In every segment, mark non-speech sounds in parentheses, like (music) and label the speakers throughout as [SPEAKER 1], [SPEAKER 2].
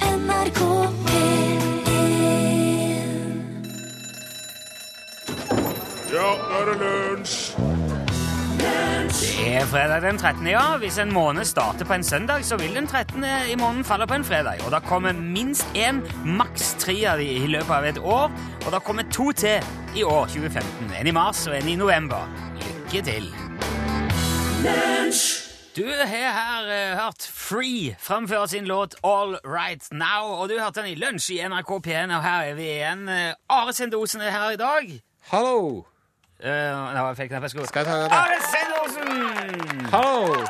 [SPEAKER 1] NRK P1
[SPEAKER 2] Ja, nå er det lunsj!
[SPEAKER 3] Det er fredag den 13. ja. Hvis en måned starter på en søndag, så vil den 13. i måneden falle på en fredag. Og da kommer minst én, maks tre av de i løpet av et år. Og da kommer to til i år 2015. En i mars og en i november. Lykke til. Du har her eh, hørt Free framføre sin låt All Right Now, og du hørte den i lunsj i NRK P1, og her er vi igjen. Eh, Are Sendosen er her i dag.
[SPEAKER 4] Hallo!
[SPEAKER 3] Uh, nå fikk jeg knapt jeg skulle
[SPEAKER 4] Skal jeg ta den? der?
[SPEAKER 3] Are Sendosen!
[SPEAKER 4] Hallo!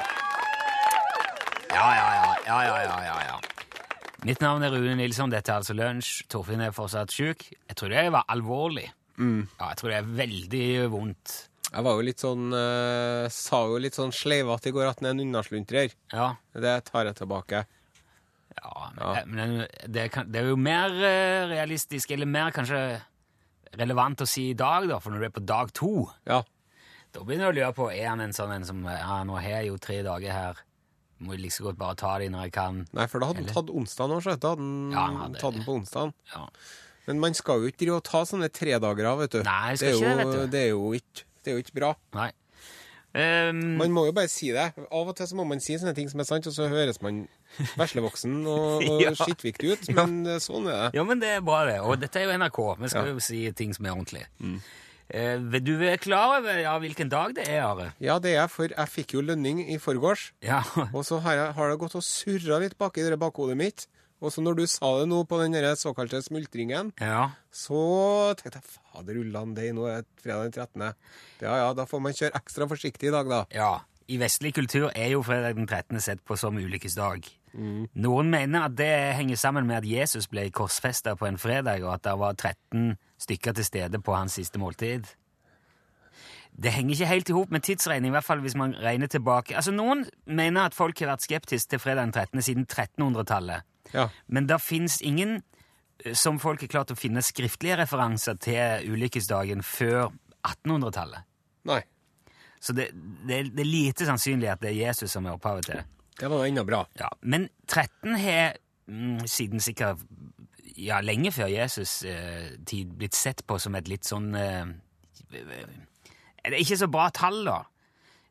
[SPEAKER 3] Ja, ja, ja, ja, ja, ja, ja, ja. Mitt navn er Rune Nilsson, dette er altså lunsj. Torfinn er fortsatt syk. Jeg trodde jeg var alvorlig. Ja, jeg tror det er veldig vondt.
[SPEAKER 4] Jeg var jo litt sånn eh, Sa jo litt sånn sleivete i går at han er en unnasluntrer.
[SPEAKER 3] Ja,
[SPEAKER 4] Det tar jeg tilbake.
[SPEAKER 3] ja men, eh,
[SPEAKER 4] Ja.
[SPEAKER 3] men det, kan, det er jo mer eh, realistisk, eller mer kanskje relevant å si i dag, da, for når du er på dag to,
[SPEAKER 4] Ja.
[SPEAKER 3] da begynner du å lure på, er han en sånn en som, ja, nå har jeg jo tre dager her, må jeg like så godt bare ta de når jeg kan.
[SPEAKER 4] Nei, for da hadde han tatt onsdagen òg, så da hadde han
[SPEAKER 3] Ja, han hadde-
[SPEAKER 4] tatt den på onsdagen.
[SPEAKER 3] Ja.
[SPEAKER 4] Men man skal jo ikke drive og ta sånne tredager av, vet du.
[SPEAKER 3] Nei, jeg skal
[SPEAKER 4] det, er
[SPEAKER 3] ikke
[SPEAKER 4] jo,
[SPEAKER 3] det, vet du.
[SPEAKER 4] det er jo ikke det er jo ikke bra.
[SPEAKER 3] Nei. Ehm,
[SPEAKER 4] Man må jo bare si det. Av og til så må man si sånne ting som er sant, og så høres man veslevoksen
[SPEAKER 3] (laughs)
[SPEAKER 4] og, og
[SPEAKER 3] Ja.
[SPEAKER 4] skittviktig ut, men eh, sånn er det.
[SPEAKER 3] Ja, men det er bra, det. Og dette er jo NRK. Vi skal jo si ting som er ordentlig. Eh, vil du er klar over ja, hvilken dag det er, Are?
[SPEAKER 4] Ja, det er jeg, for jeg fikk jo lønning i forgårs.
[SPEAKER 3] Ja,
[SPEAKER 4] Og så har, jeg, har det gått og surra litt bak i det bakhodet mitt. Og så når du sa det nå på den der såkalte smultringen,
[SPEAKER 3] (laughs) ja.
[SPEAKER 4] så tenkte jeg fader ullan, det er nå er fredag den 13. Ja ja, da får man kjøre ekstra forsiktig i dag, da.
[SPEAKER 3] ja. I vestlig kultur er jo fredag den 13. sett på som ulykkesdag. Noen mener at det henger sammen med at Jesus ble korsfesta på en fredag, og at det var 13 stykker til stede på hans siste måltid. Det henger ikke helt i hop med tidsregning, i hvert fall hvis man regner tilbake. Altså, Noen mener at folk har vært skeptiske til fredag den 13. siden 1300-tallet.
[SPEAKER 4] Ja.
[SPEAKER 3] Men det fins ingen eh, som folk har klart å finne skriftlige referanser til ulykkesdagen før 1800-tallet.
[SPEAKER 4] Nei.
[SPEAKER 3] Så det, det, er- det er lite sannsynlig at det er Jesus som er opphavet til det.
[SPEAKER 4] Det var ennå bra.
[SPEAKER 3] Ja, men 13 har mm, siden sikkert ja, lenge før Jesus eh, tid blitt sett på som et litt sånn eh, Det er ikke så bra tall, da.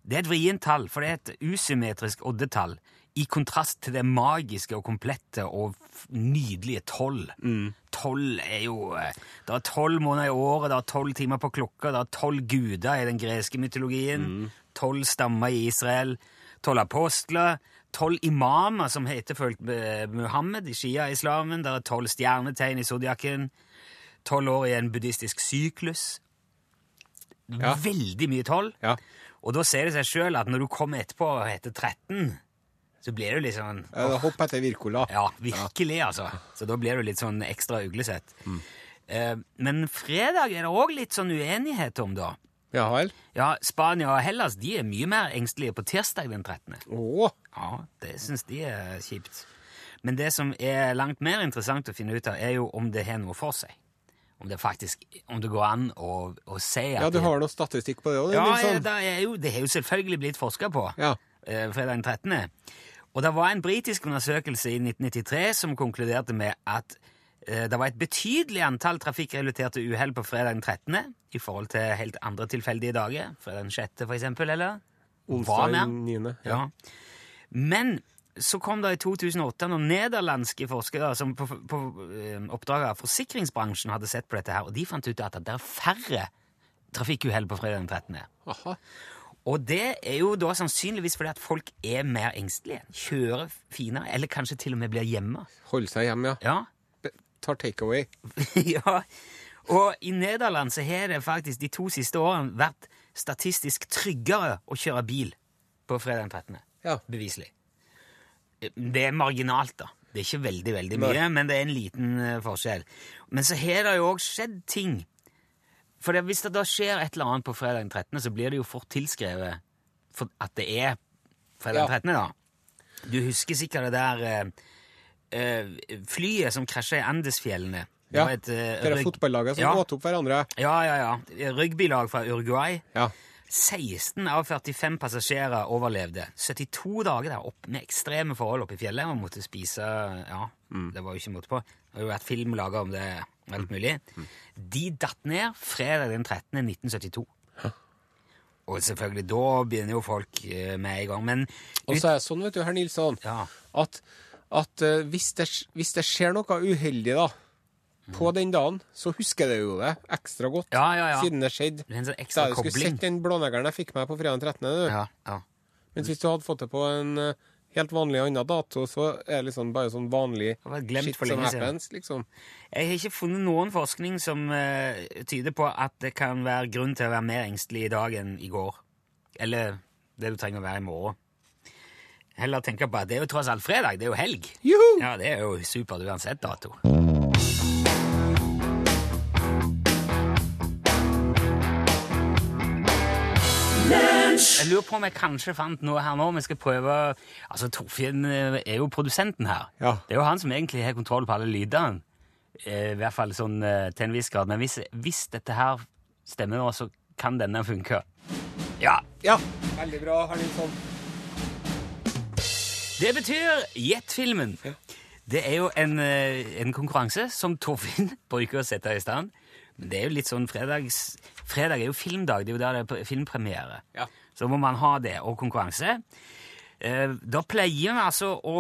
[SPEAKER 3] Det er et vrient tall, for det er et usymmetrisk oddetall i kontrast til det magiske og komplette og f- nydelige tolv. Tolv er jo eh, Det er tolv måneder i året, det er tolv timer på klokka, det er tolv guder i den greske mytologien, tolv stammer i Israel, tolv apostler, tolv imamer som har etterfulgt eh, Muhammed i Shia-islamen, det er tolv stjernetegn i zodiakken, tolv år i en buddhistisk syklus.
[SPEAKER 4] Ja.
[SPEAKER 3] Veldig mye tolv.
[SPEAKER 4] Ja. Eh,
[SPEAKER 3] Og da ser det seg sjøl at når du kommer etterpå og heter 13, så blir du litt sånn
[SPEAKER 4] Eh, da Hopp etter Wirkola.
[SPEAKER 3] Ja, virkelig, altså. Så da blir du litt sånn ekstra uglesett.
[SPEAKER 4] Mm.
[SPEAKER 3] Eh, Men fredag er det òg litt sånn uenighet om, da.
[SPEAKER 4] Ja vel?
[SPEAKER 3] Ja, Spania og Hellas de er mye mer engstelige på tirsdag den 13.
[SPEAKER 4] Å.
[SPEAKER 3] Ja, det syns de er kjipt. Men det som er langt mer interessant å finne ut av, er jo om det har noe for seg. Om det faktisk om det går an å, å si at
[SPEAKER 4] Ja, du
[SPEAKER 3] det-
[SPEAKER 4] har noe statistikk på det òg,
[SPEAKER 3] ja, ja,
[SPEAKER 4] Nilsson?
[SPEAKER 3] det er jo, det har jo selvfølgelig blitt forska på
[SPEAKER 4] Ja.
[SPEAKER 3] eh, fredag den 13. Og det var en britisk undersøkelse i 1993 som konkluderte med at eh, det var et betydelig antall trafikkrelaterte uhell på fredag den 13. i forhold til helt andre tilfeldige dager. Fredag den 6. for eksempel, eller? Hva
[SPEAKER 4] Onsdag
[SPEAKER 3] mer?
[SPEAKER 4] den 9. Ja.
[SPEAKER 3] Ja. Men så kom det i 2008 noen nederlandske forskere som på, på eh, oppdrag av forsikringsbransjen hadde sett på dette her, og de fant ut at det er færre trafikkuhell på fredag den 13.
[SPEAKER 4] Aha.
[SPEAKER 3] Og det er jo da sannsynligvis fordi at folk er mer engstelige, kjører finere, eller kanskje til og med blir hjemme.
[SPEAKER 4] Holde seg hjemme, ja.
[SPEAKER 3] Ja, (laughs)
[SPEAKER 4] Be- Tar takeaway.
[SPEAKER 3] ja. Og i Nederland så har det faktisk de to siste årene vært statistisk tryggere å kjøre bil på fredag den 13.
[SPEAKER 4] Ja.
[SPEAKER 3] Beviselig. Eh, Det er marginalt, da. Det er ikke veldig, veldig mye, men det er en liten eh, forskjell. Men så har det jo òg skjedd ting. For det, hvis det da skjer et eller annet på fredag den 13., så blir det jo fort tilskrevet for at det er fredag den 13., da. Du husker sikkert det der eh, eh, flyet som krasja i Andesfjellene. Det
[SPEAKER 4] Ja,
[SPEAKER 3] var et, eh,
[SPEAKER 4] Det er
[SPEAKER 3] rugg-
[SPEAKER 4] fotballaget som
[SPEAKER 3] ja,
[SPEAKER 4] åt opp hverandre.
[SPEAKER 3] Ja, ja, ja. Rugbylag fra Uruguay
[SPEAKER 4] Ja.
[SPEAKER 3] 16 av 45 passasjerer overlevde. 72 dager der opp med ekstreme forhold oppe i fjellet. Man måtte spise Ja,
[SPEAKER 4] Mm.
[SPEAKER 3] det var jo ikke måte på. Det har jo vært film laga om det og alt mulig.
[SPEAKER 4] Mm.
[SPEAKER 3] De datt ned fredag den 13. 1972. Og selvfølgelig, da begynner jo folk eh, med en gang. Men
[SPEAKER 4] Og så er det sånn, vet du, herr Nilsson,
[SPEAKER 3] Ja.
[SPEAKER 4] at, at eh, hvis, det, hvis det skjer noe uheldig da, på den dagen, så husker det jo det ekstra godt,
[SPEAKER 3] Mm. Ja, ja, ja.
[SPEAKER 4] siden det skjedde.
[SPEAKER 3] Det er en sånn
[SPEAKER 4] Da
[SPEAKER 3] ekstra
[SPEAKER 4] jeg skulle
[SPEAKER 3] kobling.
[SPEAKER 4] sett den blåneggeren jeg fikk meg på fredag 13. du.
[SPEAKER 3] Ja, ja.
[SPEAKER 4] Mens hvis du hadde fått det på en eh, helt vanlig annen dato, så er det liksom bare sånn vanlig
[SPEAKER 3] var glemt
[SPEAKER 4] shit
[SPEAKER 3] for lenge
[SPEAKER 4] som
[SPEAKER 3] siden.
[SPEAKER 4] happens, liksom.
[SPEAKER 3] Jeg har ikke funnet noen forskning som eh, tyder på at det kan være grunn til å være mer engstelig i dag enn i går. Eller det du trenger å være i morgen. Heller tenke på at det er jo tross alt fredag, det er jo helg.
[SPEAKER 4] Juhu!
[SPEAKER 3] Ja, det er jo supert uansett dato. Jeg lurer på om jeg kanskje fant noe her nå. Vi skal prøve Altså, Torfinn eh, er jo produsenten her.
[SPEAKER 4] Ja.
[SPEAKER 3] Det er jo han som egentlig har kontroll på alle lydene. Eh, I hvert fall sånn eh, til en viss grad. Men hvis, hvis dette her stemmer nå, så kan denne funke. Ja,
[SPEAKER 4] Ja, veldig bra, herr Nilsson.
[SPEAKER 3] Det betyr Jet-filmen. Det er jo en, eh, en konkurranse som Torfinn (laughs) bruker å sette i stand. Men det er jo litt sånn fredags... Fredag er jo filmdag, det er jo der det er pre- filmpremiere.
[SPEAKER 4] Ja.
[SPEAKER 3] Så må man ha det, og konkurranse. Eh, Da pleier vi altså å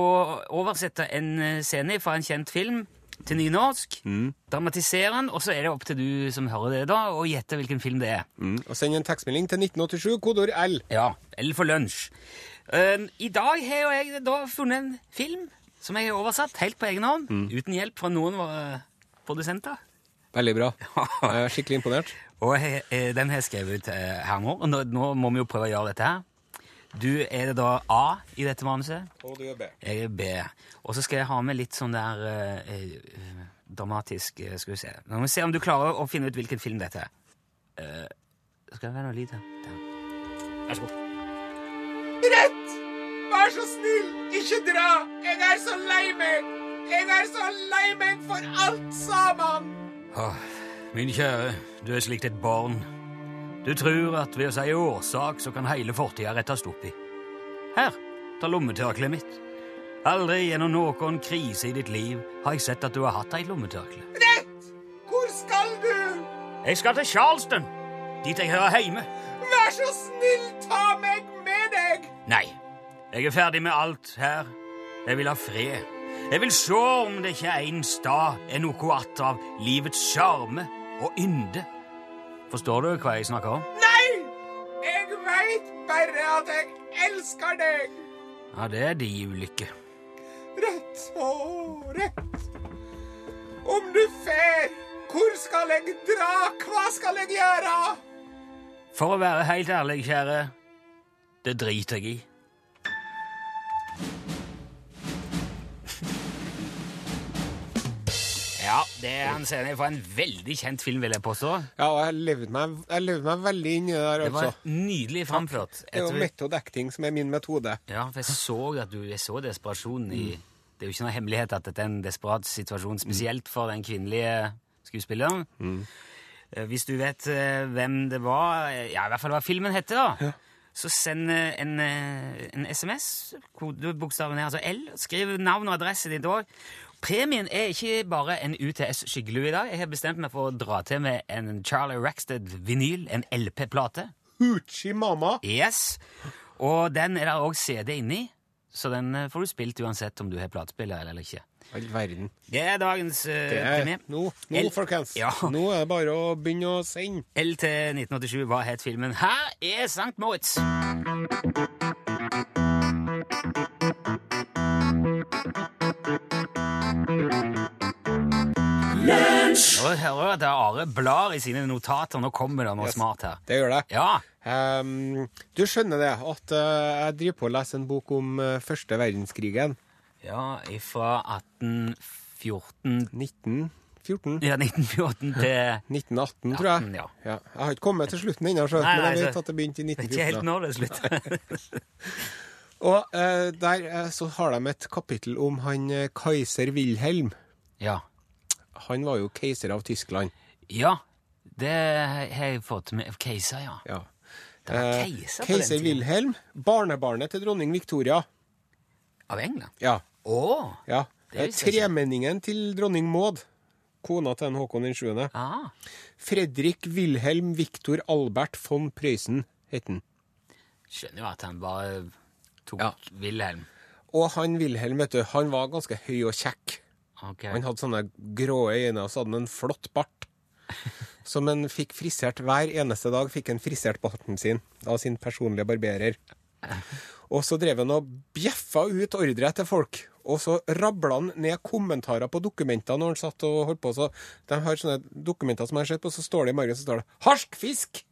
[SPEAKER 3] oversette en eh, scene fra en kjent film til nynorsk, dramatisere den, og så er det opp til du som hører det da, å gjette hvilken film det er.
[SPEAKER 4] Og send en tekstmelding til 1987, kodord L.
[SPEAKER 3] Ja, eller for lunsj. Eh, I dag har jo jeg da funnet en film som jeg har oversatt helt på egen hånd, uten hjelp fra noen eh, produsenter.
[SPEAKER 4] Veldig
[SPEAKER 3] (laughs)
[SPEAKER 4] bra. Jeg er skikkelig imponert.
[SPEAKER 3] Og jeg, eh, den har jeg skrevet ut eh, her nå, og nå, nå må vi jo prøve å gjøre dette her. Du er det da A i dette manuset,
[SPEAKER 4] Og du er B.
[SPEAKER 3] jeg er B. Og så skal jeg ha med litt sånn der eh, eh, dramatisk eh, Skal vi se Nå må vi se om du klarer å finne ut hvilken film dette er. Eh, skal det være noe lyd her? Der. Vær så god.
[SPEAKER 4] Rett! Vær så snill, ikke dra! Jeg er så lei meg! Jeg er så lei meg for alt sammen!
[SPEAKER 3] Åh, min kjære, du er slikt et barn. Du tror at ved å si årsak, så kan hele fortida rettes opp i. Her, ta lommetørkleet mitt. Aldri gjennom noen krise i ditt liv har jeg sett at du har hatt ei lommetørkle.
[SPEAKER 4] Rett! Hvor skal du?
[SPEAKER 3] Jeg skal til Charleston, dit jeg hører hjemme.
[SPEAKER 4] Vær så snill, ta meg med deg!
[SPEAKER 3] Nei, jeg er ferdig med alt her. Jeg vil ha fred. Jeg vil se om det ikke er en stad er noe att av livets sjarme og ynde. Forstår du hva jeg snakker om?
[SPEAKER 4] Nei! Jeg veit bare at jeg elsker deg!
[SPEAKER 3] Ja, det er de ulykke.
[SPEAKER 4] Rett og rett. Om du fer, hvor skal jeg dra? Hva skal jeg gjøre?
[SPEAKER 3] For å være helt ærlig, kjære, det driter jeg i. Ja, det er en scene fra en veldig kjent film, vil jeg påstå.
[SPEAKER 4] Ja, og jeg levde meg, jeg levde meg veldig inn i det der,
[SPEAKER 3] Det
[SPEAKER 4] altså.
[SPEAKER 3] var nydelig framført.
[SPEAKER 4] Det er jo
[SPEAKER 3] Etter-
[SPEAKER 4] method acting som er min metode.
[SPEAKER 3] Ja, for jeg så at du jeg så desperasjonen i Det er jo ikke noe hemmelighet at dette er en desperat situasjon, spesielt for den kvinnelige skuespilleren. Eh, Hvis du vet eh, hvem det var, eh, ja, i hvert fall hva filmen heter, da, så send eh, en, eh, en SMS, kodebokstaven er altså L, skriv navn og adresse ditt òg. Premien er ikke bare en UTS skyggelue i dag. Jeg har bestemt meg for å dra til med en Charlie Rackstead-vinyl, en LP-plate.
[SPEAKER 4] Hoochie mama.
[SPEAKER 3] Yes. Og den er det òg CD inni, så den eh, får du spilt uansett om du har platespiller eller ikke.
[SPEAKER 4] All verden.
[SPEAKER 3] Det er dagens eh,
[SPEAKER 4] Det er,
[SPEAKER 3] premie.
[SPEAKER 4] nå, nå
[SPEAKER 3] El-
[SPEAKER 4] folkens.
[SPEAKER 3] Ja.
[SPEAKER 4] Nå er det bare å begynne å sende.
[SPEAKER 3] LT 1987, hva het filmen? Her er Sankt Moritz! Nå hører jeg at Are blar i sine notater. Nå kommer det noe smart her.
[SPEAKER 4] Det gjør det.
[SPEAKER 3] Ja,
[SPEAKER 4] Ehm, du skjønner det, at eh, jeg driver på å lese en bok om eh, første verdenskrigen.
[SPEAKER 3] ja ifra 1814
[SPEAKER 4] 1914?
[SPEAKER 3] Ja, 1914 til
[SPEAKER 4] 1918, tror
[SPEAKER 3] 18,
[SPEAKER 4] jeg.
[SPEAKER 3] ja.
[SPEAKER 4] Jeg har ikke kommet til slutten ennå, sjøl,
[SPEAKER 3] Nei,
[SPEAKER 4] men jeg
[SPEAKER 3] nei,
[SPEAKER 4] vet
[SPEAKER 3] så-
[SPEAKER 4] at det begynte i
[SPEAKER 3] Vet ikke helt
[SPEAKER 4] 1914.
[SPEAKER 3] når det slutter.
[SPEAKER 4] da. Og eh, der eh, så har de et kapittel om han eh, keiser Wilhelm.
[SPEAKER 3] (laughs) ja.
[SPEAKER 4] Han var jo keiser av Tyskland.
[SPEAKER 3] ja, det har jeg fått med Keiser, ja.
[SPEAKER 4] Ja.
[SPEAKER 3] Det var
[SPEAKER 4] Eh,
[SPEAKER 3] keiser på den
[SPEAKER 4] Keiser
[SPEAKER 3] tiden.
[SPEAKER 4] Wilhelm, barnebarnet til dronning Victoria.
[SPEAKER 3] Av England?
[SPEAKER 4] Ja.
[SPEAKER 3] Å!
[SPEAKER 4] ja.
[SPEAKER 3] Det
[SPEAKER 4] Eh,
[SPEAKER 3] visste jeg ikke.
[SPEAKER 4] Tremenningen til dronning Maud, kona til en Håkon den 7.
[SPEAKER 3] Ah,
[SPEAKER 4] Fredrik Wilhelm Victor Albert von Prøysen het han.
[SPEAKER 3] skjønner jo at han bare tok
[SPEAKER 4] Ja.
[SPEAKER 3] Wilhelm.
[SPEAKER 4] Og han Wilhelm, vet du, han var ganske høy og kjekk.
[SPEAKER 3] Ok.
[SPEAKER 4] Han hadde sånne grå øyne, og så hadde han en flott bart. Som han fikk frisert hver eneste dag, fikk han frisert barten sin av sin personlige barberer. Og så drev han og bjeffa ut ordre til folk. Og så rabla han ned kommentarer på dokumenter når han satt og holdt på. Så de har sånne dokumenter som jeg har sett på, så står det i margen så står det 'Harsk fisk!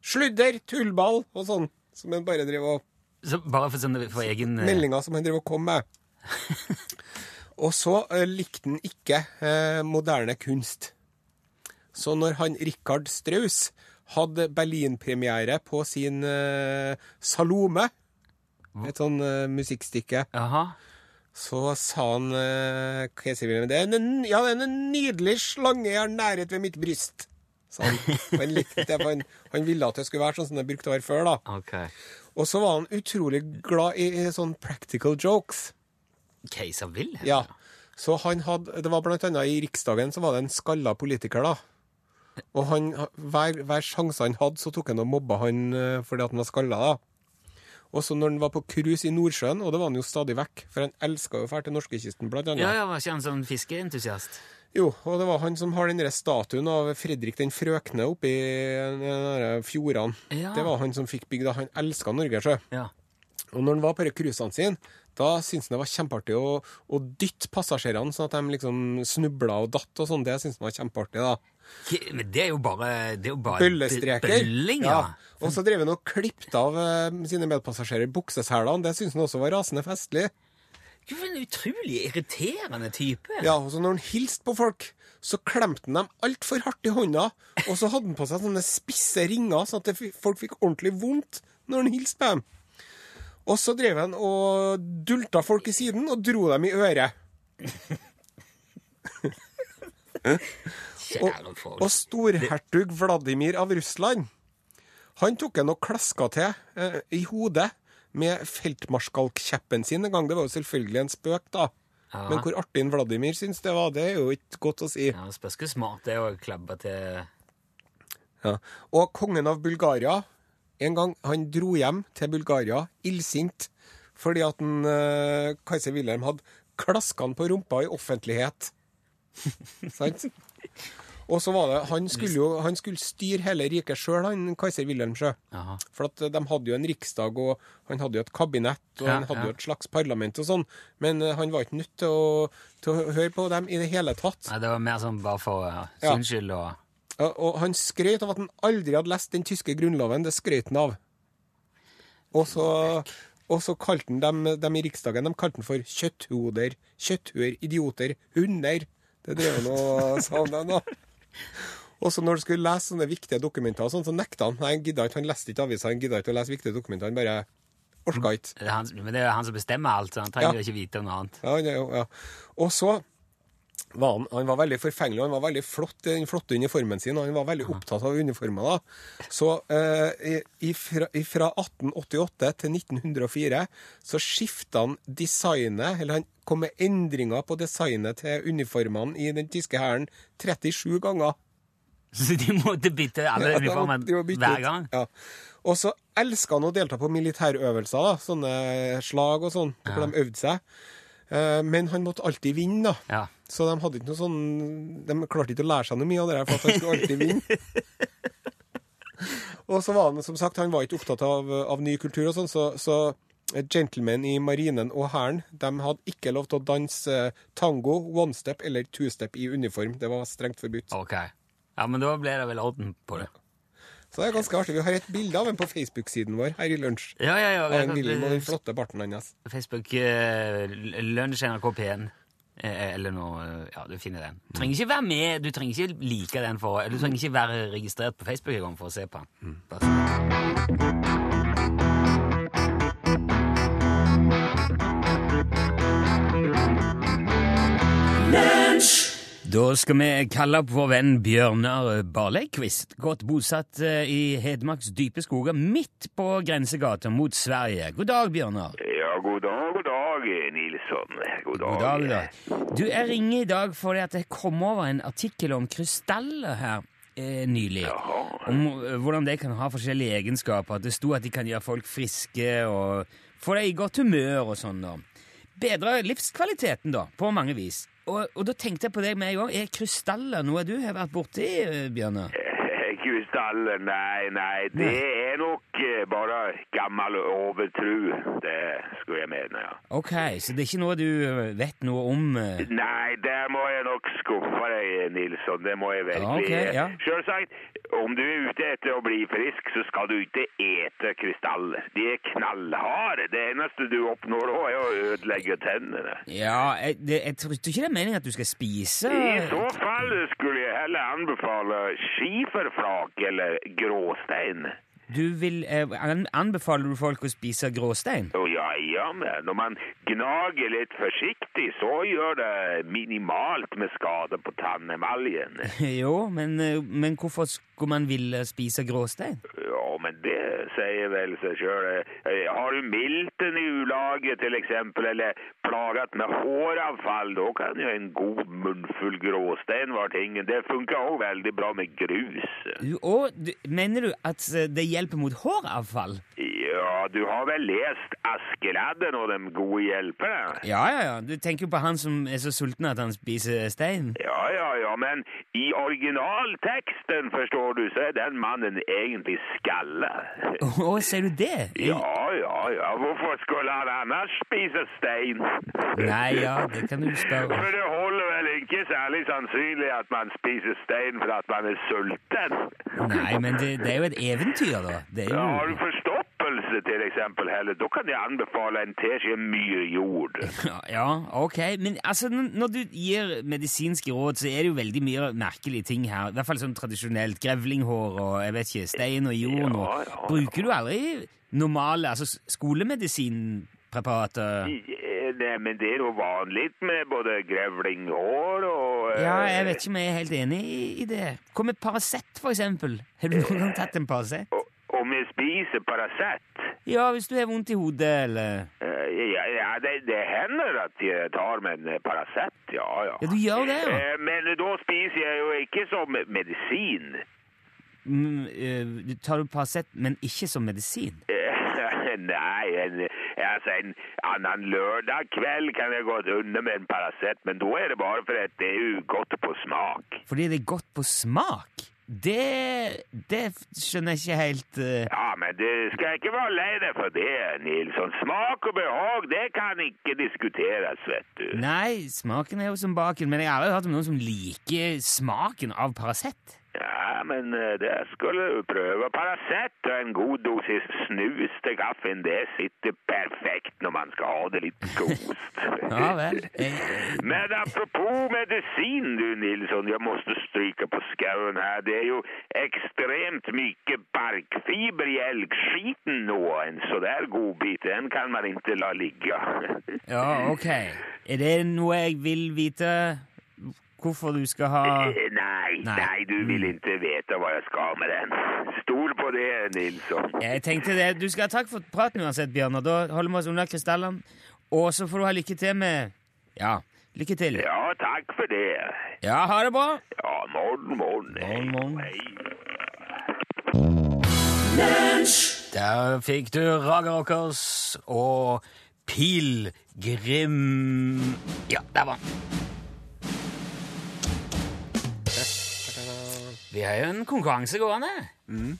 [SPEAKER 4] Sludder! Tullball!' og sånn. Som han bare drev og
[SPEAKER 3] Så bare for, sånn, for egen eh,
[SPEAKER 4] meldinga som han driver og kom med. Og så eh, likte han ikke eh, moderne kunst. Så når han Richard Strauss hadde Berlin-premiere på sin eh, Salome, et sånn eh, musikkstykke,
[SPEAKER 3] Jaha.
[SPEAKER 4] så sa han eh, Hva sier vi med det? er En, ja, det er en nydelig slange jeg har nærhet ved mitt bryst. Så han, han likte det, for han, han ville at det skulle være sånn som det brukte å være før, da.
[SPEAKER 3] Ok.
[SPEAKER 4] Og så var han utrolig glad i, i sånn practical jokes.
[SPEAKER 3] Keiser Wilhelm?
[SPEAKER 4] Ja. Så han hadde, det var blant annet i Riksdagen så var det en skalla politiker, da. Og han, hver, hver sjanse han hadde, så tok han og mobba han eh, fordi at han var skalla, da. Og så når han var på cruise i Nordsjøen, og det var han jo stadig vekk, for han elska jo å dra til norskekysten, blant annet.
[SPEAKER 3] Ja, ja, var ikke han sånn fiskeentusiast?
[SPEAKER 4] Jo, og det var han som har den der statuen av Fredrik den frøkne oppi den der fjordene.
[SPEAKER 3] Ja.
[SPEAKER 4] Det var han som fikk bygd det. Han elska Norge, sjø.
[SPEAKER 3] Ja.
[SPEAKER 4] Og når han var på de cruisene sine, da syntes han det var kjempeartig å, å dytte passasjerene, sånn at de liksom snubla og datt og sånn. Det syntes han var kjempeartig, da.
[SPEAKER 3] Ke- Men det er jo bare, det er jo bare
[SPEAKER 4] Bøllestreker.
[SPEAKER 3] Bølling, ja.
[SPEAKER 4] Og så drev han og klippet av eh, sine medpassasjerer bukseselene. Det syntes han også var rasende festlig.
[SPEAKER 3] Du er en utrolig irriterende type.
[SPEAKER 4] Ja, og så når han hilste på folk, så klemte han dem altfor hardt i hånda, og så hadde han på seg sånne spisse ringer, sånn at det, f- folk fikk ordentlig vondt når han hilste på dem. Og så drev han og dulta folk i siden og dro dem i øret.
[SPEAKER 3] (laughs) Kjære folk.
[SPEAKER 4] Og storhertug Vladimir av Russland, han tok han og klaska til eh, i hodet med feltmarskalkkjeppen sin en gang. Det var jo selvfølgelig en spøk, da.
[SPEAKER 3] Ja.
[SPEAKER 4] Men hvor artig en Vladimir syns det var, det er jo ikke godt å si.
[SPEAKER 3] Ja, det spørs hvor smart det er å klabbe til
[SPEAKER 4] Ja. Og kongen av Bulgaria, en gang han dro hjem til Bulgaria illsint fordi at han, eh, Kaiser Wilhelm hadde klaska han på rumpa i
[SPEAKER 3] (laughs)
[SPEAKER 4] offentlighet. Sant? Og så var det, Han skulle jo han skulle styre hele riket sjøl, han Kaiser Wilhelm sjø.
[SPEAKER 3] Jaha.
[SPEAKER 4] For at eh, de hadde jo en riksdag, og han hadde jo et kabinett, og
[SPEAKER 3] Ja,
[SPEAKER 4] han hadde
[SPEAKER 3] ja.
[SPEAKER 4] jo et slags parlament og sånn, men eh, han var ikke nødt til å, til å høre på dem i det hele tatt.
[SPEAKER 3] Nei, det var mer sånn bare for uh,
[SPEAKER 4] Ja.
[SPEAKER 3] sin skyld og
[SPEAKER 4] Ja, Og han skrøt av at han aldri hadde lest den tyske grunnloven. Det skrøt han av. Og så, og så kalte han dem, dem i Riksdagen de kalte han for kjøtthoder, kjøtthuer, idioter, hunder. Det drev han og sa om dem, da. Og så når du skulle lese sånne viktige dokumenter, og sånn, så nekta han. Nei, han gidda ikke, han leste ikke avisa, han gidda ikke å lese viktige dokumenter. Han bare orka ikke.
[SPEAKER 3] det er han, Men det er jo han som bestemmer alt, så han trenger
[SPEAKER 4] Ja.
[SPEAKER 3] jo ikke vite om noe annet. (laughs)
[SPEAKER 4] Ja, han er jo- ja. Og så var han, han var veldig forfengelig, og han var veldig flott i den flotte uniformen sin, og han var veldig opptatt av uniformer. da. Så eh, fra 1888 til 1904 så skifta han designet, eller han kom med endringer på designet til uniformene i den tyske hæren 37 ganger.
[SPEAKER 3] Så de måtte bytte alle
[SPEAKER 4] Ja, da
[SPEAKER 3] uniformene
[SPEAKER 4] måtte de jo bytte
[SPEAKER 3] hver
[SPEAKER 4] ut.
[SPEAKER 3] gang?
[SPEAKER 4] Ja. Og så elska han å delta på militærøvelser, da. sånne slag og sånn, hvor de øvde seg. Eh, Men han måtte alltid vinne, da.
[SPEAKER 3] Ja.
[SPEAKER 4] Så de hadde ikke noe sånn De klarte ikke å lære seg noe mye av det der, for at han skulle alltid
[SPEAKER 3] (laughs)
[SPEAKER 4] vinne. og så var han som sagt, han var ikke opptatt av, av ny kultur og sånn, så, så gentlemen i marinen og hæren de hadde ikke lov til å danse eh, tango, one-step eller two-step i uniform. Det var strengt forbudt.
[SPEAKER 3] Ok. Ja, men da ble det vel orden på det.
[SPEAKER 4] Så det er ganske artig. Vi har et bilde av ham på Facebook-siden vår her i lunsj.
[SPEAKER 3] Ja, ja, ja.
[SPEAKER 4] Av en Wilhelm og den flotte barten hans.
[SPEAKER 3] Facebook eh, Lunsj NRK P1 eh, eller noe eh, Ja, du finner den. Du trenger ikke være med, du trenger ikke like den for eller Du trenger ikke være registrert på Facebook engang for å se på den. Bare så- Da skal vi kalle opp vår venn Bjørnar Barleikvist, godt bosatt eh, i Hedmarks dype skoger, midt på grensegata mot Sverige. God dag, Bjørnar.
[SPEAKER 5] Ja, god dag, god dag, Nilsson. Sånn, eh, God dag.
[SPEAKER 3] God dag, god dag. Du, jeg ringer i dag fordi at jeg kom over en artikkel om krystaller her eh, nylig.
[SPEAKER 5] Jaha.
[SPEAKER 3] Om eh, hvordan de kan ha forskjellige egenskaper. At det sto at de kan gjøre folk friske og få deg i godt humør og sånn. da. Bedre livskvaliteten, da, på mange vis. Og, og da tenkte jeg på deg med en gang. Er krystaller noe du har vært borti, eh, Bjørnar?
[SPEAKER 5] Krystaller, nei, nei. Det er nok eh, bare gammel overtro. Det skulle jeg mene, ja.
[SPEAKER 3] Ok, så det er ikke noe du eh, vet noe om? eh.
[SPEAKER 5] Nei, der må jeg nok skuffe deg, Nilsson. Det må jeg
[SPEAKER 3] Ja,
[SPEAKER 5] virkelig.
[SPEAKER 3] ok, ja.
[SPEAKER 5] Selvsagt, om du er ute etter å bli frisk, så skal du ikke ete krystaller. De er knallharde. Det eneste du oppnår da, er å ødelegge tennene.
[SPEAKER 3] Ja, jeg, det, jeg tror ikke det er meningen at du skal spise
[SPEAKER 5] I så fall skulle jeg heller anbefale skiferfrak eller gråstein.
[SPEAKER 3] Du vil, eh, an- Anbefaler du folk å spise gråstein? (laughs)
[SPEAKER 5] Å ja, ja, men når man gnager litt forsiktig, så gjør det minimalt med skade på tannemaljen.
[SPEAKER 3] jo, men, eh, men hvorfor skulle man ville spise gråstein?
[SPEAKER 5] Ja, men det sier vel seg sjøl. Har du milten i ulaget, til eksempel, eller plaget med håravfall, da kan jo en god munnfull gråstein være tingen. Det funker òg veldig bra med grus.
[SPEAKER 3] Du- Og du, mener du at eh, det hjelper mot håravfall?
[SPEAKER 5] Ja, du har vel lest Askeladden og de gode hjelperne?
[SPEAKER 3] Ja, ja, ja. Du tenker jo på han som er så sulten at han spiser stein.
[SPEAKER 5] Ja, ja, ja, men i originalteksten, forstår du, så er den mannen egentlig skalle.
[SPEAKER 3] Å, sier du det?
[SPEAKER 5] Ja, ja, ja, hvorfor skulle han annars spise stein?
[SPEAKER 3] Nei, ja, det kan du spørre om.
[SPEAKER 5] For det holder vel ikke særlig sannsynlig at man spiser stein for at man er sulten.
[SPEAKER 3] Nei, men det, det er jo et eventyr, da. Det er
[SPEAKER 5] Ja, har du
[SPEAKER 3] jo...
[SPEAKER 5] forstoppelse til eksempel heller, da kan jeg anbefale en teskje myrjord.
[SPEAKER 3] Ja, ok. Men altså, n- når du gir medisinske råd, så er det jo veldig mye merkelige ting her. I hvert fall sånn tradisjonelt. Grevlinghår og jeg vet ikke, stein og jord.
[SPEAKER 5] Ja,
[SPEAKER 3] og-
[SPEAKER 5] ja, ja.
[SPEAKER 3] Bruker du aldri normale altså s- skolemedisinpreparater?
[SPEAKER 5] Ja, Nei, men det er jo vanlig med både grevlinghår og eh,
[SPEAKER 3] Ja, jeg vet ikke om jeg er helt enig i, i det. Hva med Paracet, for eksempel? Har
[SPEAKER 5] Eh,
[SPEAKER 3] du noen gang tatt en Paracet?
[SPEAKER 5] og- Om jeg spiser Paracet
[SPEAKER 3] Ja, hvis du har vondt i hodet, eller
[SPEAKER 5] eh, Ja, ja det, det hender at jeg tar med en eh, Paracet, ja, ja.
[SPEAKER 3] Ja, du gjør det, ja.
[SPEAKER 5] Eh, Men da spiser jeg jo ikke som medisin.
[SPEAKER 3] Mm, eh, du tar du Paracet, men ikke som medisin?
[SPEAKER 5] Eh, (laughs) Nei, en, altså en annen lørdag kveld kan jeg godt unne med en Paracet, men da er det bare for at det er ugodt på smak.
[SPEAKER 3] Fordi det er godt på smak? Det, det skjønner jeg ikke helt eh.
[SPEAKER 5] Ja, men du skal ikke være lei deg for det, Nilsson. Smak og behag, det kan ikke diskuteres, vet du.
[SPEAKER 3] Nei, smaken er jo som baken, men jeg har aldri hørt om noen som liker smaken av Paracet.
[SPEAKER 5] Ja, men eh, det skulle du prøve. Paracet og en god dosis snus til kaffen, det sitter perfekt når man skal ha det litt kost.
[SPEAKER 3] (laughs) Ja vel. Eh,
[SPEAKER 5] Men apropos medisin, du Nilsson, jeg måste stryka på skauen her. Det er jo ekstremt mye barkfiber i elgskiten nå. En sånn der godbit, den kan man ikke la ligge.
[SPEAKER 3] Ja, ok. Er det noe jeg vil vite? Hvorfor du skal ha
[SPEAKER 5] Eh, (laughs) Nei,
[SPEAKER 3] Nei. Mm.
[SPEAKER 5] nei, du vil ikke vite hva jeg skal med den. Stol på det, Nilsson.
[SPEAKER 3] Jeg tenkte det. Du skal ha takk for praten uansett, Bjørnar. Da holder vi oss unna krystallene. Og så får du ha lykke til med Ja, lykke til.
[SPEAKER 5] Ja, takk for det.
[SPEAKER 3] Ja, ha det bra!
[SPEAKER 5] Ja, morgen, morgen. Hei,
[SPEAKER 3] Morgen, morgen.
[SPEAKER 5] hei.
[SPEAKER 3] Der fikk du Raga Rockers og Pilgrim Ja, der var han. Vi har jo en konkurranse gående.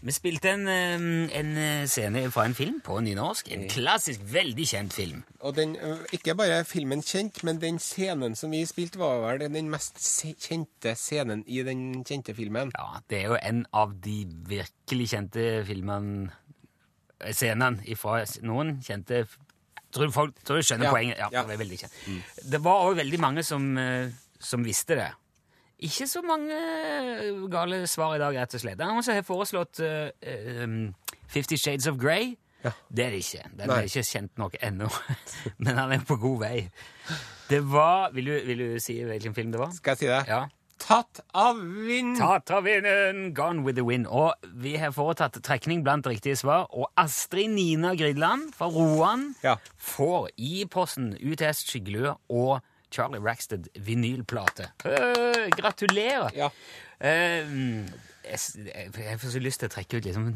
[SPEAKER 3] Vi spilte en, eh, en scene fra en film på nynorsk. En klassisk, veldig kjent film.
[SPEAKER 4] Og den, ø, ikke bare er filmen kjent, men den scenen som vi spilte, var vel den mest se- kjente scenen i den kjente filmen.
[SPEAKER 3] Ja, det er jo en av de virkelig kjente filmene Scenene fra noen kjente Tror du folk tror du skjønner
[SPEAKER 4] Ja,
[SPEAKER 3] poenget? Ja,
[SPEAKER 4] ja. Mm.
[SPEAKER 3] Det, er veldig kjent. det var òg veldig mange som, eh, som visste det. Ikke så mange eh, gale svar i dag, rett og slett. Det er noen som har foreslått eh, em, Fifty Shades of Grey. Det er det ikke. Den
[SPEAKER 4] Nei.
[SPEAKER 3] er ikke kjent nok ennå. (laughs) Men han er på god vei. Det var Vil du, vil du si hvilken film det var?
[SPEAKER 4] Skal jeg si det?
[SPEAKER 3] Ja.
[SPEAKER 4] Tatt av vind.
[SPEAKER 3] Tatt av vinden, gone with the wind. Og vi har foretatt trekning blant riktige svar, og Astrid Nina Gridland fra Roan
[SPEAKER 4] Ja.
[SPEAKER 3] får i posten UTS Skyggelue og Charlie Rackstead vinylplate. Øh, gratulerer!
[SPEAKER 4] Ja.
[SPEAKER 3] Eh, jeg, s- jeg, jeg får så lyst til å trekke ut liksom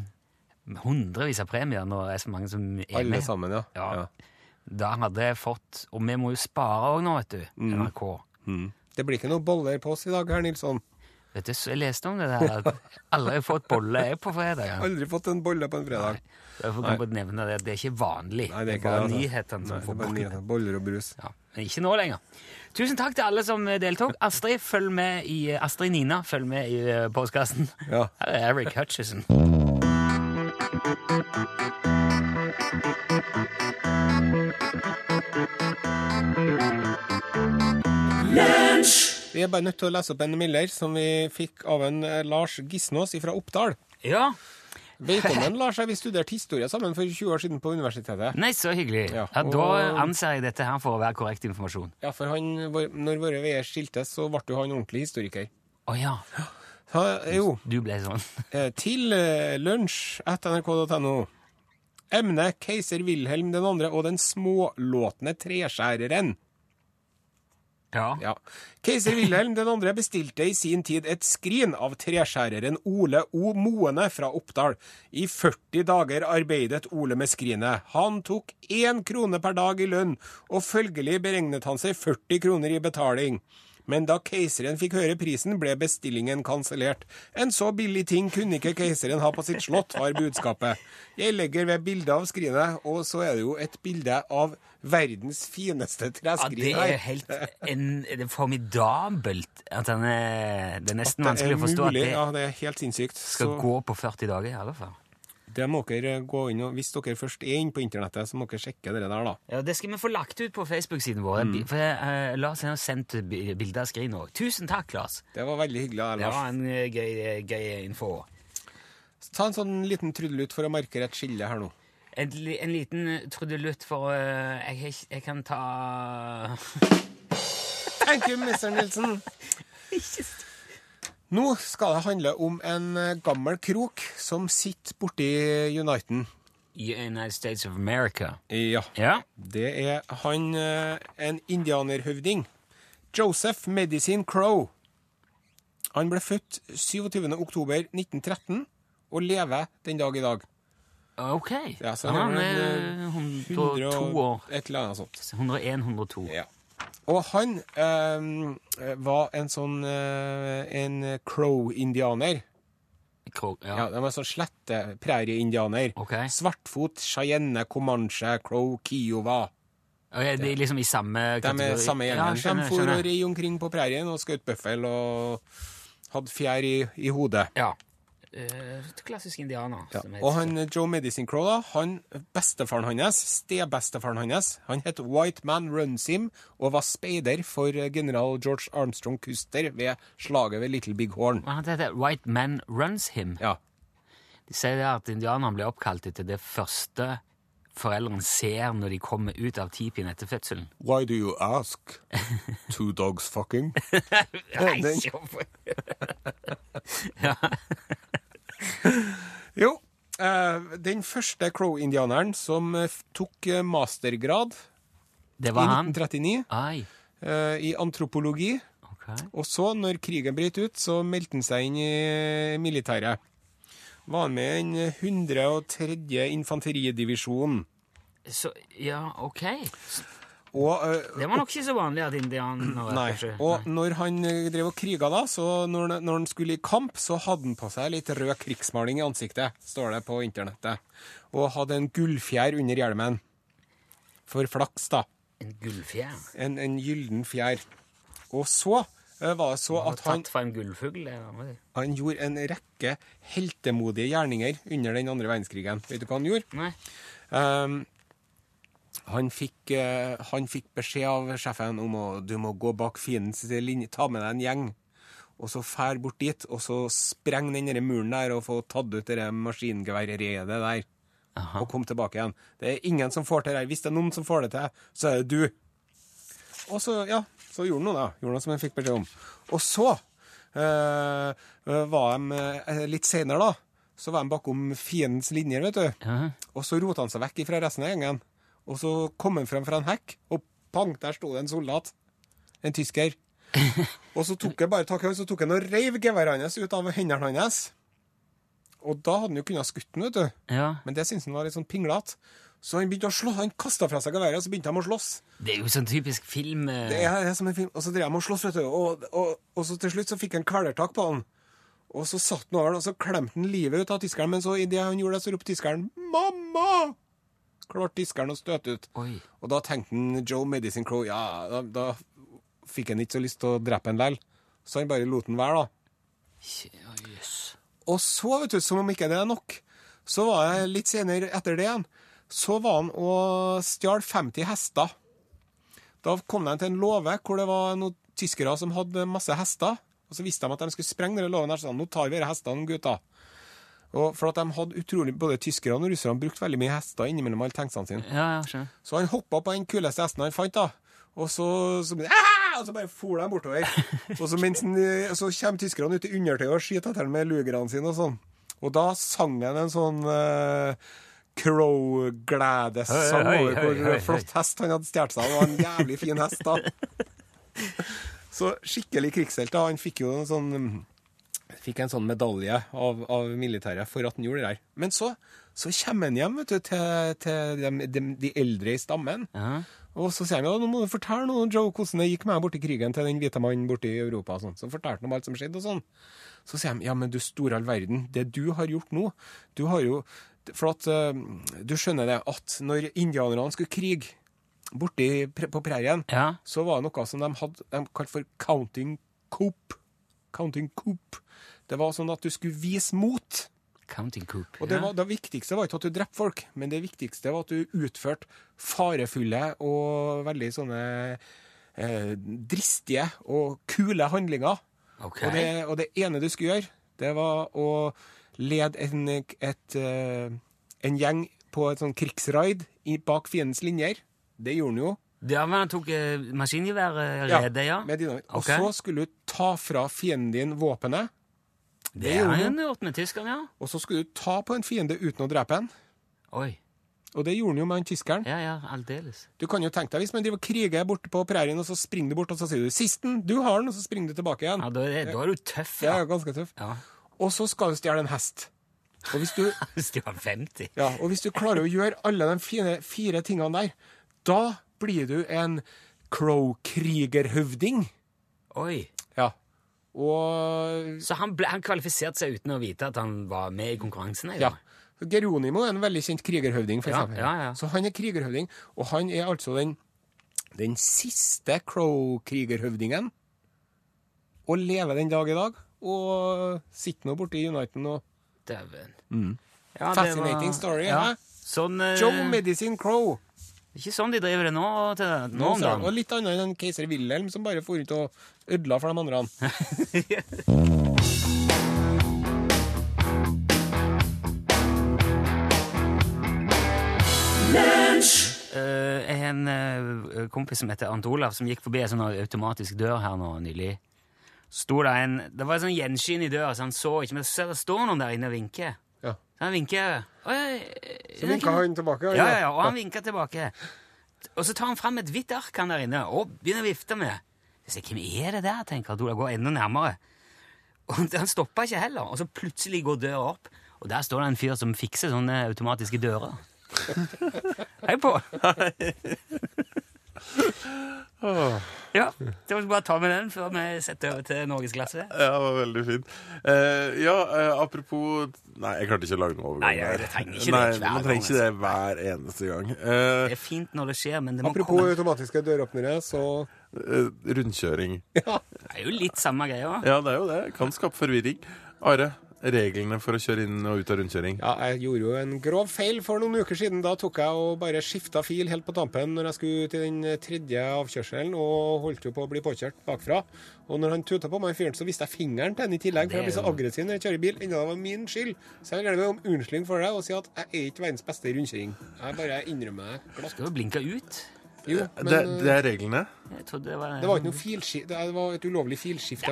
[SPEAKER 3] hundrevis av premier når det er så mange som er
[SPEAKER 4] Alle
[SPEAKER 3] med.
[SPEAKER 4] sammen, ja.
[SPEAKER 3] Ja.
[SPEAKER 4] Ja.
[SPEAKER 3] Da hadde jeg fått Og vi må jo spare òg nå, vet du.
[SPEAKER 4] Mm.
[SPEAKER 3] NRK.
[SPEAKER 4] Det blir ikke noe boller på oss i dag, herr Nilsson.
[SPEAKER 3] Vet du, så Jeg leste om det der at alle har fått bolle jeg på fredag. ja.
[SPEAKER 4] Aldri fått en bolle på en fredag.
[SPEAKER 3] Derfor kan jeg bare nevne det. at Det er ikke vanlig.
[SPEAKER 4] Nei, det er ikke
[SPEAKER 3] bare
[SPEAKER 4] det, altså.
[SPEAKER 3] nyhetene
[SPEAKER 4] Nei,
[SPEAKER 3] som
[SPEAKER 4] det
[SPEAKER 3] får
[SPEAKER 4] er bare
[SPEAKER 3] bolle.
[SPEAKER 4] nyhetene. Boller og brus.
[SPEAKER 3] Ja, men ikke nå lenger. Tusen takk til alle som deltok. Astrid, følg med i, Astrid Nina, følg med i eh, postkassen.
[SPEAKER 4] Ja.
[SPEAKER 3] (laughs) Her er Eric Hutchison.
[SPEAKER 4] Vi er bare nødt til å lese opp en Miller som vi fikk av en eh, Lars Gisnås fra Oppdal.
[SPEAKER 3] Ja, (laughs)
[SPEAKER 4] Velkommen, Lars. Vi studerte historie sammen for 20 år siden på universitetet.
[SPEAKER 3] nei, så hyggelig. Ja,
[SPEAKER 4] Ja,
[SPEAKER 3] da
[SPEAKER 4] og-
[SPEAKER 3] anser jeg dette her for å være korrekt informasjon.
[SPEAKER 4] Ja, for han, vår- Når våre veier skiltes, så ble jo han ordentlig historiker.
[SPEAKER 3] Å ja,
[SPEAKER 4] Ha, jo,
[SPEAKER 3] du ble sånn.
[SPEAKER 4] eh, til eh, lunsj at nrk.no. Emne keiser Wilhelm 2. og den smålåtne treskjæreren.
[SPEAKER 3] Ja.
[SPEAKER 4] (gasps) Ja. Keiser Wilhelm 2. bestilte i sin tid et skrin av treskjæreren Ole O. Moene fra Oppdal. I 40 dager arbeidet Ole med skrinet. Han tok én krone per dag i lønn, og følgelig beregnet han seg 40 kroner i betaling. Men da keiseren fikk høre prisen, ble bestillingen kansellert. En så billig ting kunne ikke keiseren ha på sitt slott, var budskapet. Jeg legger ved bildet av skrinet, og så er det jo et bilde av verdens fineste
[SPEAKER 3] Ja,
[SPEAKER 4] treskrin
[SPEAKER 3] det er jo helt en, det er formidabelt at den er, det er nesten vanskelig å forstå at
[SPEAKER 4] mulig, altså.
[SPEAKER 3] det
[SPEAKER 4] Ja, det er helt sinnssykt.
[SPEAKER 3] skal
[SPEAKER 4] Så
[SPEAKER 3] gå på 40 dager i alle fall.
[SPEAKER 4] det må dere gå inn og Hvis dere først er inne på internettet, så må dere sjekke det der, da.
[SPEAKER 3] Ja, Det skal vi få lagt ut på Facebook-siden vår.
[SPEAKER 4] Mm.
[SPEAKER 3] For eh, Lars har sendt bi- bilder av skrinet òg. Tusen takk, Lars.
[SPEAKER 4] Det var veldig hyggelig av
[SPEAKER 3] Det
[SPEAKER 4] deg, Lars.
[SPEAKER 3] var en eh, gøy, gøy info.
[SPEAKER 4] Ta en sånn liten trudelutt for å markere et skille her nå.
[SPEAKER 3] En, li- en liten trudelutt for eh, jeg, har ikke- jeg kan ta (laughs)
[SPEAKER 4] Thank you, Mr. Nilsen. Nå skal det handle om en eh, gammel krok som sitter borti Uniten.
[SPEAKER 3] United States of America.
[SPEAKER 4] Ja.
[SPEAKER 3] Ja.
[SPEAKER 4] Det er han eh, en indianerhøvding. Joseph Medicine Crow. Han ble født 27. oktober 1913 og lever den dag i dag.
[SPEAKER 3] Ok. eh,
[SPEAKER 4] Ja, så
[SPEAKER 3] han
[SPEAKER 4] har
[SPEAKER 3] er
[SPEAKER 4] han,
[SPEAKER 3] 102 år.
[SPEAKER 4] Et eller annet sånt.
[SPEAKER 3] 101-102.
[SPEAKER 4] Ja. Og han eh, var en sånn eh, en crow-indianer. Ja,
[SPEAKER 3] Ja.
[SPEAKER 4] de er sånn slette prærieindianer.
[SPEAKER 3] Ok.
[SPEAKER 4] Svartfot, Cheyenne, Comanche, Crow, Kiowa.
[SPEAKER 3] Og er de liksom i samme
[SPEAKER 4] De
[SPEAKER 3] kategori?
[SPEAKER 4] er samme
[SPEAKER 3] Ja,
[SPEAKER 4] gjengen.
[SPEAKER 3] skjønner,
[SPEAKER 4] de for og
[SPEAKER 3] skjønner.
[SPEAKER 4] ri omkring på prærien og skjøt bøffel og hadde fjær i, i hodet.
[SPEAKER 3] Ja. Eh, klassisk indianer. som heter-
[SPEAKER 4] Og han Joe Medicine Crow, da, han, bestefaren hans, stebestefaren hans, han het White Man Runsim og var speider for general George Armstrong Custer ved slaget ved Little Big Horn.
[SPEAKER 3] Hva heter det? White Man Runs Him.
[SPEAKER 4] Ja.
[SPEAKER 3] De sier det at indianerne ble oppkalt etter det første foreldrene ser når de kommer ut av tipien etter fødselen.
[SPEAKER 4] Why do you ask? Two dogs fucking?
[SPEAKER 3] Nei,
[SPEAKER 4] den-
[SPEAKER 3] sjå-
[SPEAKER 4] (laughs) Jo, eh, den første Crow-indianeren som eh, f- tok eh, mastergrad
[SPEAKER 3] det
[SPEAKER 4] i
[SPEAKER 3] var han.
[SPEAKER 4] 1939
[SPEAKER 3] Ai,
[SPEAKER 4] eh, i antropologi.
[SPEAKER 3] ok.
[SPEAKER 4] Og så, når krigen brøt ut, så meldte han seg inn i militæret. Var med i den 103. infanteridivisjonen.
[SPEAKER 3] Så, ja, ok.
[SPEAKER 4] Og, eh,
[SPEAKER 3] Det var nok ikke så vanlig at indianere
[SPEAKER 4] nei.
[SPEAKER 3] kanskje-
[SPEAKER 4] og når han eh, drev og kriga, da, så når, han- når han skulle i kamp, så hadde han på seg litt rød krigsmaling i ansiktet, står det på internettet. Og hadde en gullfjær under hjelmen. For flaks, da.
[SPEAKER 3] En gullfjær.
[SPEAKER 4] En, en gyllen fjær. Og så eh, var det så at han
[SPEAKER 3] Tatt fra en gullfugl? eller noe.
[SPEAKER 4] Han gjorde en rekke heltemodige gjerninger under den andre verdenskrigen. Vet du hva han gjorde?
[SPEAKER 3] Nei.
[SPEAKER 4] Ehm, han, fikk, eh, han fikk beskjed av sjefen om å du må gå bak fiendens linje, ta med deg en gjeng, og så fær bort dit, og så spreng den der muren der og få tatt ut det der maskingeværredet der, og kom tilbake igjen. Det er ingen som får til det her. Hvis det er noen som får det til, så er det du. Og så, ja, så gjorde han noe, da. Gjorde noe som han fikk beskjed om. Og så eh, var de eh, litt seinere, da. Så var de bakom fiendens linjer, vet du.
[SPEAKER 3] Ja.
[SPEAKER 4] Og så rota han seg vekk fra resten av gjengen. Og så kom han fram fra en hekk, og pang, der sto det en soldat. En tysker. Og så tok han bare tak i han, så tok han og reiv geværet hans ut av hendene hans. Og da hadde han jo kunnet skutt den, vet du.
[SPEAKER 3] ja.
[SPEAKER 4] Men det syntes han var litt sånn pinglete. Så han begynte å slå, han kasta fra seg geværet, og så begynte de å slåss.
[SPEAKER 3] Det er jo sånn typisk film... eh,
[SPEAKER 4] Det er, det er som en film. Og så drev de og slåss, vet du. Og, og, og så til slutt så fikk han kvelertak på han. Og så satt han over den, og så klemte han livet ut av tyskeren. Men så idet han gjorde det, så ropte tyskeren 'mamma'! Klarte tyskeren å støte ut.
[SPEAKER 3] Oi.
[SPEAKER 4] Og da tenkte han Joe Medicine Crow Ja, da, da fikk han ikke så lyst til å drepe han likevel. Så han bare lot han være, da.
[SPEAKER 3] Ja, jøss.
[SPEAKER 4] Og så, vet du, som om ikke det er nok, så var jeg litt senere etter det igjen, så var han og stjal 50 hester. Da kom de til en låve hvor det var noen tyskere som hadde masse hester, og så visste de at de skulle sprenge denne låven her, så sa de, nå tar vi disse hestene, gutta. Og for at de hadde utrolig, både tyskere og russerne brukte veldig mye hester innimellom alle tanksene sine.
[SPEAKER 3] Ja, ja, skjønner.
[SPEAKER 4] Så han hoppa på den kuleste hesten han fant, da. Og så, så ble det, «Ah!» og så bare for de
[SPEAKER 3] (laughs)
[SPEAKER 4] bortover. Og så, mens han, eh, så kommer tyskerne ut i undertøyet og skyter etter ham med lugerne sine og sånn. Og da sang han en sånn eh, Crow-gledessang
[SPEAKER 3] Hei, hei,
[SPEAKER 4] over hvor
[SPEAKER 3] hei, hei, hei.
[SPEAKER 4] flott hest han hadde stjålet seg. Det var en jævlig fin hest,
[SPEAKER 3] (laughs)
[SPEAKER 4] da. Så skikkelig krigshelt. da. Han fikk jo en sånn mm, Fikk en sånn medalje av, av militæret for at han gjorde det her. Men så, så kommer han hjem vet du, til, til dem- dem- de eldre i stammen.
[SPEAKER 3] Ja.
[SPEAKER 4] Og så sier han ja, nå må du fortelle noe, Joe, hvordan det gikk med deg borti krigen til den hvite mannen borti Europa. og sånn. Så fortalte han om alt som skjedde og sånn. Så sier han ja, men du store all verden, det du har gjort nå Du har jo For at eh, du skjønner det, at når indianerne skulle krige borti pre- på prærien,
[SPEAKER 3] Ja.
[SPEAKER 4] så var det noe som de hadde de kalte for counting coop. Counting coop. Det var sånn at du skulle vise mot.
[SPEAKER 3] Counting Coop.
[SPEAKER 4] Og det,
[SPEAKER 3] ja.
[SPEAKER 4] var, det viktigste var ikke at du drepte folk, men det viktigste var at du utførte farefulle og veldig sånne eh, dristige og kule handlinger.
[SPEAKER 3] Ok.
[SPEAKER 4] Og, det, og det ene du skulle gjøre, det var å lede en, et, eh, en gjeng på et sånn krigsraid i, bak fiendens linjer. Det gjorde han jo.
[SPEAKER 3] Ja, men han tok eh, maskingeværredet, ja.
[SPEAKER 4] Med dynamitt. Og
[SPEAKER 3] Ok.
[SPEAKER 4] så skulle du ta fra fienden din våpenet,
[SPEAKER 3] Det
[SPEAKER 4] gjorde
[SPEAKER 3] har
[SPEAKER 4] han.
[SPEAKER 3] han gjort med tyskerne, ja.
[SPEAKER 4] og så skulle du ta på en fiende uten å drepe en.
[SPEAKER 3] Oi.
[SPEAKER 4] Og det gjorde han jo med han tyskeren.
[SPEAKER 3] Ja, ja, aldeles.
[SPEAKER 4] Du kan jo tenke deg, Hvis man driver og kriger borte på prærien, og så springer du bort, og så sier du 'sisten', du har den, og så springer du tilbake igjen.
[SPEAKER 3] Ja, da er, det- da er du tøff,
[SPEAKER 4] Det er
[SPEAKER 3] ja.
[SPEAKER 4] jo ganske tøff.
[SPEAKER 3] Ja.
[SPEAKER 4] Og så skal du stjele en hest. Og hvis du,
[SPEAKER 3] Hvis du har 50.
[SPEAKER 4] ja, og hvis du klarer å gjøre alle de fine, fire tingene der, da blir du en crow-krigerhøvding.
[SPEAKER 3] Oi.
[SPEAKER 4] Ja. Og
[SPEAKER 3] Så han, ble, han kvalifiserte seg uten å vite at han var med i konkurransen?
[SPEAKER 4] Ja. Geronimo er en veldig kjent krigerhøvding, for
[SPEAKER 3] Ja,
[SPEAKER 4] eksempel.
[SPEAKER 3] ja, ja.
[SPEAKER 4] Så han er krigerhøvding, og han er altså den, den siste Crow-krigerhøvdingen, og lever den dag i dag, og sitter nå borte i Uniten og
[SPEAKER 3] Dæven. Ja, det
[SPEAKER 4] Mm. Fascinating story, hæ?
[SPEAKER 3] Sånn, eh,
[SPEAKER 4] Joe Medicine Crow!
[SPEAKER 3] ikke sånn de driver det nå, til, nå om
[SPEAKER 4] Så- og
[SPEAKER 3] dagen.
[SPEAKER 4] litt annet enn keiser Wilhelm, som bare for ut og ødela for de andre.
[SPEAKER 3] Eh, Jeg har en eh, kompis som heter Arnt Olav, som gikk forbi en sånn automatisk dør her nå nylig. Sto det, en, det var en sånn gjensyn i døra, så han så ikke, men så ser det står noen der inne og vinker.
[SPEAKER 4] Ja.
[SPEAKER 3] Så han vinker. Oi,
[SPEAKER 4] Så vinka han tilbake.
[SPEAKER 3] Ja, ja, ja, og han vinker tilbake. Og så tar han fram et hvitt ark han der inne og begynner å vifte med. Jeg sier, hvem er det der, tenker Ola, går enda nærmere. Og (laughs) han stopper ikke heller, og så plutselig går døra opp, og der står det en fyr som fikser sånne automatiske
[SPEAKER 4] (laughs)
[SPEAKER 3] dører. Hei på! ja, det må vi bare ta med den før vi setter over til norgesklasse.
[SPEAKER 2] Ja, det var veldig fint. Eh, ja, eh, apropos Nei, jeg klarte ikke å lage noen overgang
[SPEAKER 3] Nei, jeg
[SPEAKER 2] der.
[SPEAKER 3] trenger ikke det
[SPEAKER 2] Nei,
[SPEAKER 3] hver
[SPEAKER 2] man trenger ikke det hver eneste gang. Eh,
[SPEAKER 3] Det er fint når det skjer, men det må
[SPEAKER 4] Apropos
[SPEAKER 3] komme.
[SPEAKER 4] automatiske døråpnere, så
[SPEAKER 2] eh, rundkjøring.
[SPEAKER 3] Det er jo litt samme greia.
[SPEAKER 2] Ja, det er jo det. Kan skape forvirring. Are, reglene for å kjøre inn og ut av rundkjøring.
[SPEAKER 4] Ja, jeg gjorde jo en grov feil for noen uker siden. Da tok jeg og bare skifta fil helt på tampen når jeg skulle ut i den tredje avkjørselen, og holdt jo på å bli påkjørt bakfra. Og når han tuta på meg, fyren, så viste jeg fingeren til han i tillegg, for jeg blir så aggressiv når jeg kjører bil. Enda det var min skyld. Så jeg gleder meg om unnskyldning for det, og sier at jeg er ikke verdens beste rundkjøring. Jeg bare innrømmer det. glatt.
[SPEAKER 3] Skal jo blinke ut.
[SPEAKER 4] Jo, men
[SPEAKER 2] det,
[SPEAKER 4] eh,
[SPEAKER 2] det er reglene.
[SPEAKER 3] Jeg trodde det var,
[SPEAKER 4] det var ikke noe filskifte. Det var et ulovlig filskifte.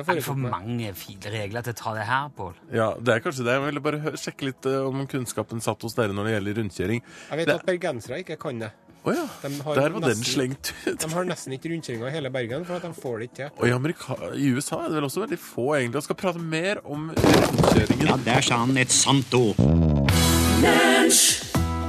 [SPEAKER 3] Det
[SPEAKER 4] jeg
[SPEAKER 3] er for
[SPEAKER 4] foretok meg.
[SPEAKER 3] mange fil- regler til å ta det her, Pål.
[SPEAKER 2] Ja, det er kanskje det. Jeg ville bare hø- sjekke litt eh, om kunnskapen satt hos dere når det gjelder rundkjøring.
[SPEAKER 4] Jeg vet
[SPEAKER 2] Det-
[SPEAKER 4] at bergensere ikke kan det.
[SPEAKER 2] Å ja,
[SPEAKER 4] De har
[SPEAKER 2] der var den
[SPEAKER 4] nesten-
[SPEAKER 2] slengt ut.
[SPEAKER 4] De har nesten ikke rundkjøringer i hele Bergen, for at de får det ikke til.
[SPEAKER 2] Og i, Amerika i USA er det vel også veldig få, egentlig. Jeg skal prate mer om rundkjøringen.
[SPEAKER 6] Ja, der sa han et sant ord.